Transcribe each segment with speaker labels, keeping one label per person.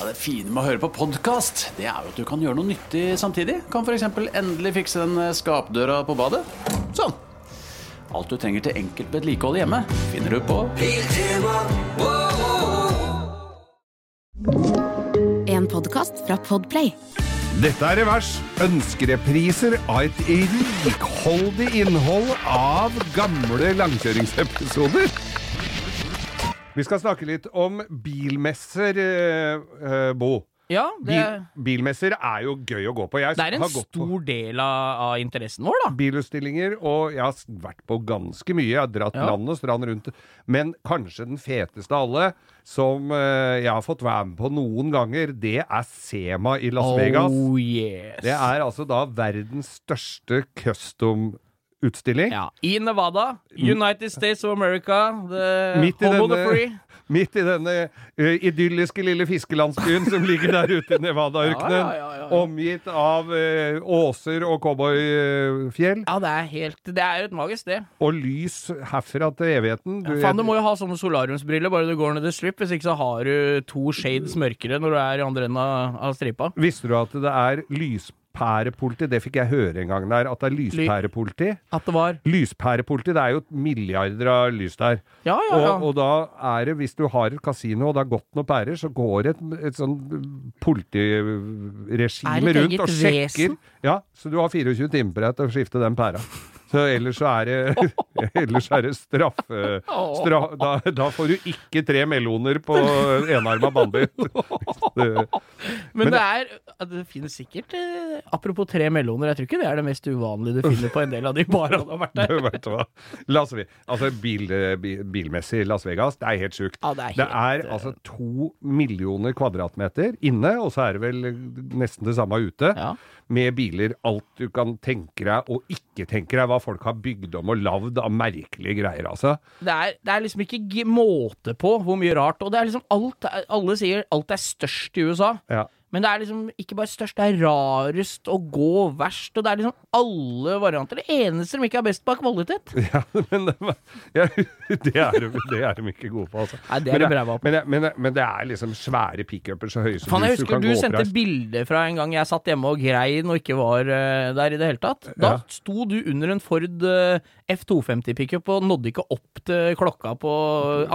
Speaker 1: Ja, det fine med å høre på podkast, det er jo at du kan gjøre noe nyttig samtidig. Kan f.eks. endelig fikse den eh, skapdøra på badet. Sånn. Alt du trenger til enkelt vedlikehold hjemme, finner du på
Speaker 2: En podcast fra Podplay
Speaker 3: Dette er Revers. Ønskerepriser av et rikholdig innhold av gamle langkjøringsepisoder. Vi skal snakke litt om bilmesser, eh, eh, Bo.
Speaker 4: Ja, det,
Speaker 3: Bil, bilmesser er jo gøy å gå på. Jeg
Speaker 4: det er en
Speaker 3: har gått på
Speaker 4: stor del av, av interessen vår, da.
Speaker 3: bilutstillinger, og jeg har s- vært på ganske mye. Jeg har dratt
Speaker 4: Ja.
Speaker 3: land og strand rundt. Men kanskje den feteste av alle, som eh, jeg har fått være med på noen ganger, det er Sema i Las Vegas.
Speaker 4: Oh yes.
Speaker 3: Det er altså da verdens største custom-utstilling.
Speaker 4: ja. I Nevada, United States of America, the
Speaker 3: Midt i,
Speaker 4: home of
Speaker 3: denne,
Speaker 4: the free.
Speaker 3: midt i denne ø, idylliske lille fiskelandsbyen som ligger der ute i Nevada-ørkenen.
Speaker 4: Ja, ja, ja, ja.
Speaker 3: Omgitt av ø, åser og cowboyfjell.
Speaker 4: Ja, det er helt Det er jo et magisk sted.
Speaker 3: Og lys herfra til evigheten. Du,
Speaker 4: Faen, du må jo ha sånne solariumsbriller bare du går ned i strip, hvis ikke så har du to shades mørkere når du er i andre enden av, av stripa.
Speaker 3: Visste du at det er lyspærepoliti? Det fikk jeg høre en gang der. At det er lyspærepoliti.
Speaker 4: At det var
Speaker 3: Lyspærepoliti, det er jo milliarder av lys der.
Speaker 4: Ja, ja, ja.
Speaker 3: Og, og da er det, hvis du har et kasino og det har gått noen pærer, så går et, et sånn
Speaker 4: Er det
Speaker 3: politiregime
Speaker 4: et
Speaker 3: rundt
Speaker 4: eget
Speaker 3: og
Speaker 4: vesen?
Speaker 3: sjekker. Ja, så du har 24 timer på deg til å skifte den pæra. Så ellers så er det, ellers er det straffe... Stra, da, da får du ikke tre meloner på enarma bandit.
Speaker 4: Men, det er ja, Det finnes sikkert eh, Apropos tre meloner, jeg tror ikke det er det mest uvanlige du finner på en del av de barene du har vært der.
Speaker 3: Du vet hva. Las Ve- altså bil, bi- bilmessig Las Vegas, det er helt sjukt.
Speaker 4: Ja, det er helt,
Speaker 3: det
Speaker 4: eh,
Speaker 3: er altså to millioner kvadratmeter inne, og så er det vel nesten det samme ute.
Speaker 4: Ja.
Speaker 3: Med biler, alt du kan tenke deg og ikke tenke deg, hva folk har bygd om og lagd av merkelige greier, altså.
Speaker 4: Det er, det er liksom ikke g- måte på hvor mye rart. Og det er liksom alt er- Alle sier alt er størst i USA.
Speaker 3: Ja.
Speaker 4: Men det er liksom ikke bare størst, det er rarest og gå verst. Og det er liksom alle varianter. Det eneste de ikke er best på, er kvalitet.
Speaker 3: Ja, men det, var- ja, det, er, de- det er de ikke gode på, altså.
Speaker 4: Nei, det er
Speaker 3: men,
Speaker 4: de bræva på.
Speaker 3: men, det- men, det- men det er liksom svære pickuper så høye som
Speaker 4: Faen, jeg
Speaker 3: hus du
Speaker 4: husker
Speaker 3: kan
Speaker 4: du
Speaker 3: gå
Speaker 4: sendte
Speaker 3: oppreist.
Speaker 4: bilde fra en gang jeg satt hjemme og grein og ikke var eh, der i det hele tatt. Da
Speaker 3: Ja.
Speaker 4: sto du under en Ford eh, F250 pickup og nådde ikke opp til klokka på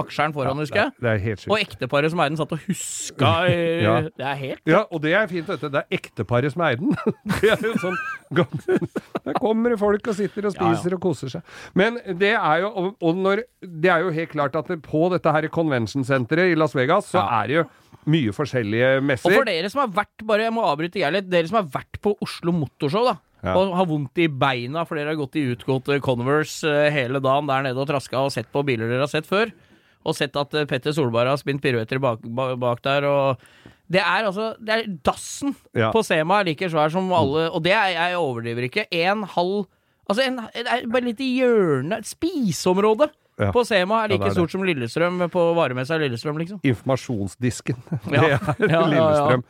Speaker 4: aksjeren foran, husker jeg.
Speaker 3: Det er helt sjukt.
Speaker 4: Og ekteparet som eide den, satt og huska eh,
Speaker 3: Ja.
Speaker 4: Det er helt
Speaker 3: Ja, og det er fint, dette. Det er ekteparet som eier den. Det er jo sånn gammel- Der kommer det folk og sitter
Speaker 4: Ja,
Speaker 3: og
Speaker 4: ja.
Speaker 3: spiser og koser seg. Men det er jo og- Og når Det er jo helt klart at det, på dette her convention-senteret i Las Vegas, så
Speaker 4: Ja.
Speaker 3: er det jo mye forskjellige messer.
Speaker 4: Og for dere som har vært bare, jeg må avbryte Geir litt, dere som har vært på Oslo Motorshow da,
Speaker 3: Ja.
Speaker 4: og har vondt i beina, for dere har gått i utgåtte Converse eh, hele dagen der nede og traska og sett på biler dere har sett før, og sett at eh, Petter Solberg har spint piruetter bak, ba- bak der, og det er altså, det er dassen
Speaker 3: Ja.
Speaker 4: på Sema er like svær som alle, og det er, jeg overdriver ikke, en halv, altså en, det er bare litt i hjørnet, et spiseområde
Speaker 3: Ja.
Speaker 4: på Sema er
Speaker 3: Ja,
Speaker 4: like
Speaker 3: det er det.
Speaker 4: stort som Lillestrøm på varemessa Lillestrøm, liksom.
Speaker 3: Informasjonsdisken.
Speaker 4: Ja.
Speaker 3: Det
Speaker 4: Ja,
Speaker 3: er
Speaker 4: ja, ja.
Speaker 3: Lillestrøm.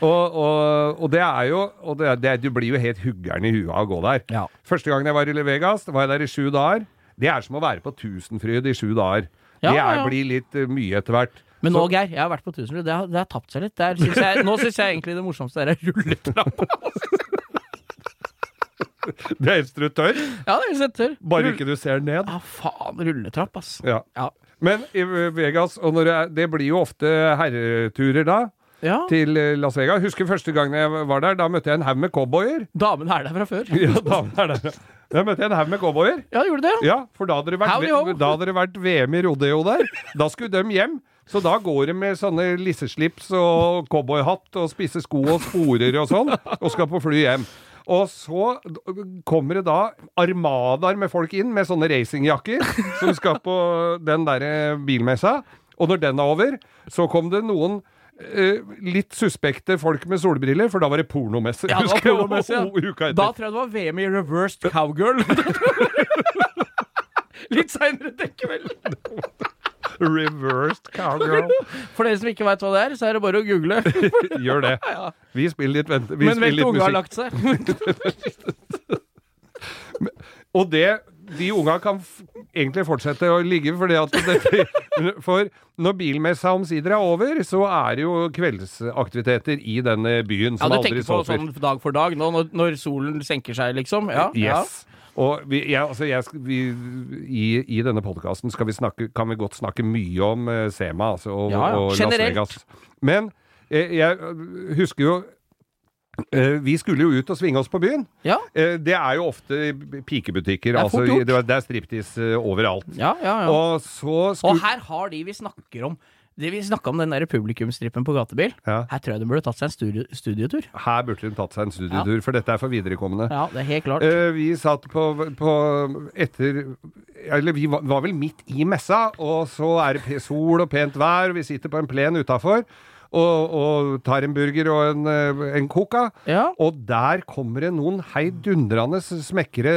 Speaker 3: Og, og, og det er jo og det er, det, er- Du blir jo helt huggeren i huet av å gå der.
Speaker 4: Ja.
Speaker 3: Første gangen jeg var i Le Vegas, var jeg der i sju dager. Det er som å være på Tusenfryd i sju dager.
Speaker 4: Ja,
Speaker 3: det er,
Speaker 4: ja, ja.
Speaker 3: blir litt eh, mye etter hvert.
Speaker 4: Men nå,
Speaker 3: Så-
Speaker 4: Geir, jeg har vært på Tusenfryd. Det, har- det har tapt seg litt. Det er- synes jeg, nå syns jeg egentlig det morsomste er rulletrappa.
Speaker 3: Det er instruktør.
Speaker 4: Ja, det er sett tørr.
Speaker 3: Bare ikke du ser ned.
Speaker 4: Ja, faen. Rulletrapp, ass.
Speaker 3: Ja.
Speaker 4: Ja.
Speaker 3: Men i Vegas, og når det, er, det blir jo ofte herreturer da,
Speaker 4: ja.
Speaker 3: til eh, Las Vegas. Husker første gangen jeg var der, da møtte jeg en haug med cowboyer.
Speaker 4: Damene er der fra før.
Speaker 3: Ja, damen er der. Da møtte jeg en haug med cowboyer.
Speaker 4: Ja, gjorde det?
Speaker 3: Ja, for da hadde det vært,
Speaker 4: Howdy ho.
Speaker 3: da hadde det vært VM i rodeo der. Da skulle de hjem. Så da går de med sånne lisseslips og cowboyhatt og spisse sko og sporer og sånn, og skal på fly hjem. Og så d- kommer det da armadaer med folk inn med sånne racingjakker som skal på den derre bilmessa. Og når den er over, så kom det noen eh, litt suspekte folk med solbriller, for da var det pornomesse.
Speaker 4: Ja, det var
Speaker 3: husker jeg,
Speaker 4: pornomesse, ja.
Speaker 3: og- og uka etter.
Speaker 4: Da tror jeg det var VM i reversed cowgirl. Litt seinere den kvelden.
Speaker 3: Reversed cowgirl.
Speaker 4: For dere som ikke veit hva det er, så er det bare å google.
Speaker 3: Gjør det. Vi spiller litt, vent, vi
Speaker 4: Men
Speaker 3: spiller
Speaker 4: vent til
Speaker 3: litt
Speaker 4: unga har
Speaker 3: musikk.
Speaker 4: lagt seg.
Speaker 3: Og det de unga kan f egentlig fortsette å ligge, fordi at det, for når bilmessa omsider er over, så er det jo kveldsaktiviteter i denne byen
Speaker 4: Ja,
Speaker 3: som
Speaker 4: du
Speaker 3: aldri
Speaker 4: tenker på
Speaker 3: så før.
Speaker 4: sånn dag for dag nå, når, når solen senker seg, liksom? Ja. ja.
Speaker 3: Yes. Og vi, jeg, altså jeg, sk- vi, i, i denne podkasten kan vi godt snakke mye om eh, Sema altså, og,
Speaker 4: Ja, ja.
Speaker 3: og Las
Speaker 4: Generelt.
Speaker 3: Vegas. Men eh, jeg øh, husker jo eh, Vi skulle jo ut og svinge oss på byen.
Speaker 4: Ja,
Speaker 3: Eh, Det er jo ofte b- pikebutikker.
Speaker 4: er
Speaker 3: altså,
Speaker 4: fort gjort.
Speaker 3: det, er- det er striptease eh, overalt.
Speaker 4: ja, ja. ja. Og,
Speaker 3: Og så skulle
Speaker 4: her har de vi snakker om det Vi snakka om den der publikumstrippen på gatebil.
Speaker 3: Ja.
Speaker 4: Her tror jeg de burde tatt seg en studie, studietur.
Speaker 3: Her burde hun tatt seg en studietur, for dette er for viderekommende.
Speaker 4: Ja, det er helt klart.
Speaker 3: Eh, vi satt på, på etter Eller vi var, var vel midt i messa, og så er det pe- sol og pent vær, og vi sitter på en plen utafor. Og, og tar en burger og en, eh, en coca.
Speaker 4: Ja.
Speaker 3: Og der kommer det noen heidundrende smekre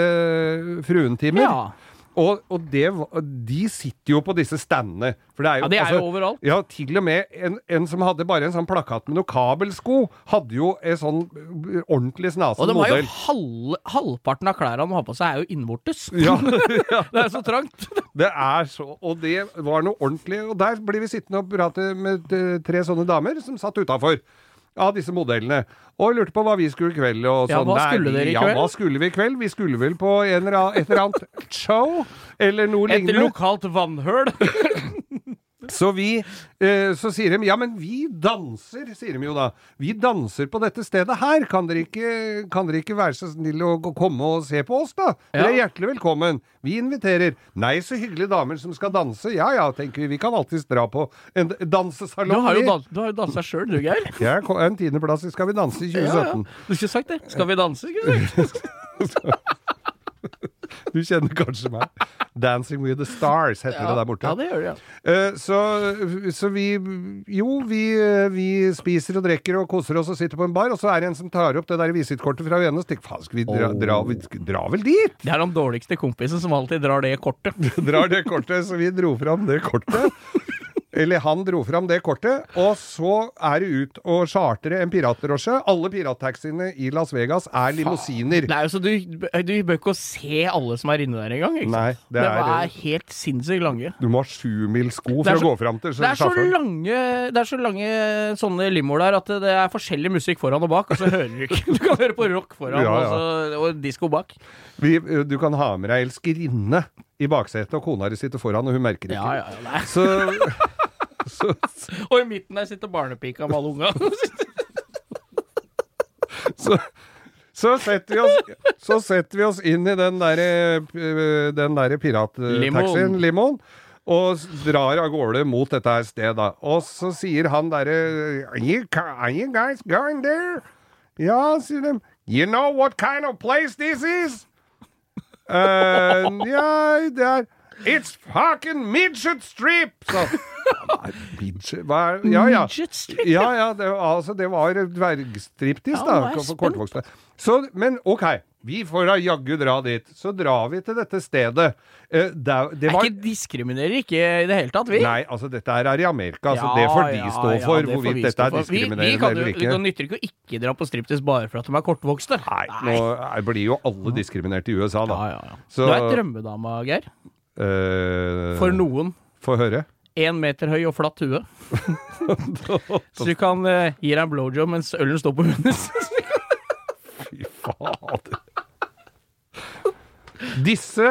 Speaker 3: fruentimer.
Speaker 4: Ja.
Speaker 3: Og, og det, var- de sitter jo på disse standene. For det er jo, altså,
Speaker 4: Ja, det er jo overalt.
Speaker 3: Ja, til og med en, en som hadde bare en sånn plakat med noe kabelsko, hadde jo en sånn eh, ordentlig
Speaker 4: Og
Speaker 3: snasen
Speaker 4: de har jo
Speaker 3: modell.
Speaker 4: halv, halvparten av klærne de har på seg, er jo innvortes.
Speaker 3: Ja,
Speaker 4: Det er så trangt.
Speaker 3: det er så Og det var noe ordentlig. Og der ble vi sittende og prate med eh, tre sånne damer som satt utafor. Av disse modellene. Og lurte på hva vi skulle i kveld. Og
Speaker 4: Ja,
Speaker 3: sånn.
Speaker 4: hva
Speaker 3: Nei,
Speaker 4: skulle dere i
Speaker 3: ja,
Speaker 4: kveld?
Speaker 3: hva skulle vi i kveld? Vi skulle vel på en eller annen, et eller annet show, eller noe
Speaker 4: Et
Speaker 3: lignende.
Speaker 4: lokalt vannhøl.
Speaker 3: Så vi eh, Så sier de Ja, men vi danser, sier de jo da. Vi danser på dette stedet her. Kan dere ikke, kan dere ikke være så snill å gå- komme og se på oss, da? Dere er
Speaker 4: Ja.
Speaker 3: hjertelig velkommen. Vi inviterer. Nei, så hyggelige damer som skal danse. Ja ja, tenker vi. Vi kan alltids dra på en
Speaker 4: Du
Speaker 3: dansesalong.
Speaker 4: har jo
Speaker 3: vi.
Speaker 4: dans, du har jo dansa sjøl, du, Geir.
Speaker 3: Jeg er ko- en tiendeplass i Skal vi danse i 2017.
Speaker 4: Du skulle ikke sagt det. Skal vi danse? skulle du sagt?
Speaker 3: Du kjenner kanskje meg. 'Dancing with the Stars' heter det der borte.
Speaker 4: Ja, det gjør du, ja.
Speaker 3: Eh, Så, så vi Jo, vi, eh, vi spiser og drikker og koser oss og sitter på en bar, og så er det en som tar opp det der visittkortet fra Vene og tenker faen, skal vi dra, dra, vi sk- dra vel dit?
Speaker 4: Det er den dårligste kompisen som alltid drar det kortet.
Speaker 3: Drar det kortet, så vi dro fram det kortet. Eller han dro fram det kortet, og så er det ut og chartre en piratdrosje. Alle pirattaxiene i Las Vegas er limousiner.
Speaker 4: Nei, altså, du, du bør ikke å se alle som er inne der engang. ikke sant?
Speaker 3: Nei, det
Speaker 4: De
Speaker 3: er-
Speaker 4: er helt sinnssykt lange.
Speaker 3: Du må ha sjumilssko
Speaker 4: Det
Speaker 3: for
Speaker 4: er
Speaker 3: å
Speaker 4: så-
Speaker 3: gå fram til
Speaker 4: Det er, så
Speaker 3: sjåføren.
Speaker 4: lange, det er så lange sånne limoer der at det er forskjellig musikk foran og bak, og så hører du ikke. Du kan høre på rock foran
Speaker 3: Ja, ja.
Speaker 4: Og, så, og disco bak.
Speaker 3: Vi, du kan ha med deg elskerinne i baksetet, og kona di sitter foran, og hun merker ikke.
Speaker 4: Ja, ja, ja, nei.
Speaker 3: Så, så,
Speaker 4: Og i midten der sitter barnepika med alle unga.
Speaker 3: så, så, setter vi oss, så setter vi oss inn i den derre den der pirattaxien,
Speaker 4: Limoen.
Speaker 3: limoen, og s- drar av gårde mot dette her stedet. da. Og så sier han derre are, you ca- are you guys going there? Ja, sier de. You know what kind of place this is? Eh, ja, det er It's fucking midget strip! Så, midget, hva er, ja, ja.
Speaker 4: Midget strip?
Speaker 3: Ja, ja, det, var- altså, det var dvergstriptis,
Speaker 4: Ja, nå
Speaker 3: da.
Speaker 4: er jeg
Speaker 3: For kortvokste. Så, men OK, vi får da jaggu dra dit. Så drar vi til dette stedet. Eh, der, det
Speaker 4: Jeg
Speaker 3: var
Speaker 4: ikke diskriminerer ikke i det hele tatt, vi.
Speaker 3: Nei, altså dette her er i Amerika, så
Speaker 4: Ja,
Speaker 3: det får de
Speaker 4: ja,
Speaker 3: stå
Speaker 4: ja,
Speaker 3: for.
Speaker 4: det får vi
Speaker 3: hvorvidt
Speaker 4: stå
Speaker 3: dette er
Speaker 4: for. Vi- vi
Speaker 3: diskriminerende
Speaker 4: kan
Speaker 3: eller
Speaker 4: jo-
Speaker 3: ikke.
Speaker 4: Det nytter ikke å ikke dra på striptease bare for at de er kortvokste.
Speaker 3: Nei, nå er- blir jo alle diskriminert i USA, da.
Speaker 4: Ja, ja, ja.
Speaker 3: Så
Speaker 4: Du er drømmedama, Geir.
Speaker 3: eh,
Speaker 4: For noen.
Speaker 3: Få høre.
Speaker 4: Én meter høy og flatt hue. Så du kan eh, gi deg en blowjob mens ølen står på munnen.
Speaker 3: Fy fader. Disse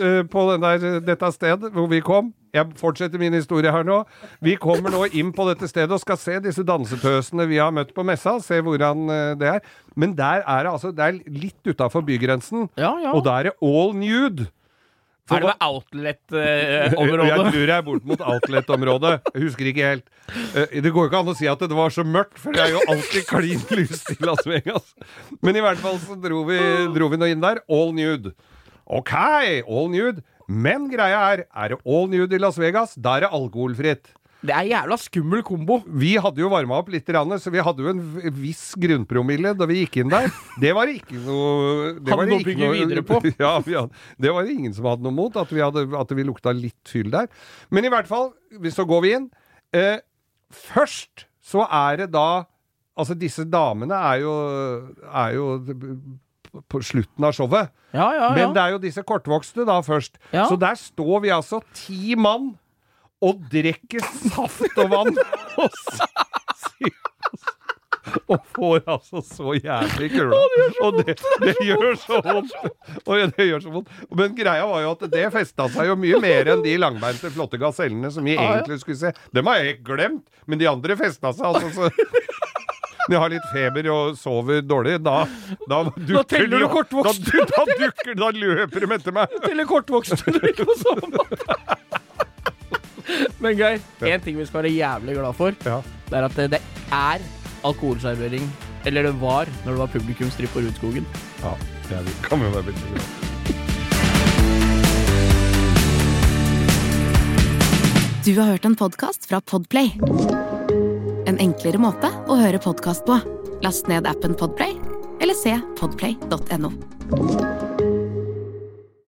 Speaker 3: eh, på den der, dette stedet hvor vi kom Jeg fortsetter min historie her nå. Vi kommer nå inn på dette stedet og skal se disse dansetøsene vi har møtt på messa. Se hvordan eh, det er. Men der er det altså Det er litt utafor bygrensen,
Speaker 4: Ja, ja.
Speaker 3: og da er det all nude.
Speaker 4: er det eh, ved
Speaker 3: Jeg
Speaker 4: outlet-området?
Speaker 3: tror jeg er bort mot outlet-området. Jeg husker ikke helt. Eh, Det går jo ikke an å si at det var så mørkt, for det er jo alltid klin lyst i Las Vegas. Men i hvert fall så dro vi, dro vi nå inn der. All nude. OK, all nude. Men greia er, er det all nude i Las Vegas, da er det alkoholfritt.
Speaker 4: det er jævla skummel kombo.
Speaker 3: Vi hadde jo varma opp litt, grann, så vi hadde jo en v- viss grunnpromille da vi gikk inn der. Det var ikke noe det
Speaker 4: Hadde
Speaker 3: var
Speaker 4: noe å
Speaker 3: ikke
Speaker 4: bygge videre på.
Speaker 3: Ja, vi hadde, det var det ingen som hadde noe mot, at vi, hadde, at vi lukta litt fyll der. Men i hvert fall, vi- så går vi inn. Eh, først så er det da Altså, disse damene er jo, er jo på slutten av showet.
Speaker 4: Ja, ja, ja.
Speaker 3: Men det er jo disse kortvokste da først.
Speaker 4: Ja.
Speaker 3: Så der står vi altså ti mann og drikker saft og vann. og, sy- og får altså så jævlig kula. Og det, det gjør så vondt. Og det gjør så vondt. Men greia var jo at det festa seg jo mye mer enn de langbeinte, flotte gasellene som vi egentlig skulle se. Dem har jeg helt glemt, men de andre festa seg altså så når jeg har litt feber og sover dårlig, da, da dukker
Speaker 4: teller
Speaker 3: de
Speaker 4: du
Speaker 3: opp.
Speaker 4: kortvokst.
Speaker 3: Da, du- da dukker Da løper de etter meg.
Speaker 4: Eller kortvokst eller ikke på sånn måte. Men Geir, én ting vi skal være jævlig glad for,
Speaker 3: Ja.
Speaker 4: det er at det- det er alkoholservering. Eller det var når det var publikumsstripp på Rudskogen.
Speaker 3: Ja, jeg kan jo være veldig glad.
Speaker 2: Du har hørt en podcast fra Podplay. En enklere måte å høre podcast på. Last ned appen Podplay, eller se podplay.no.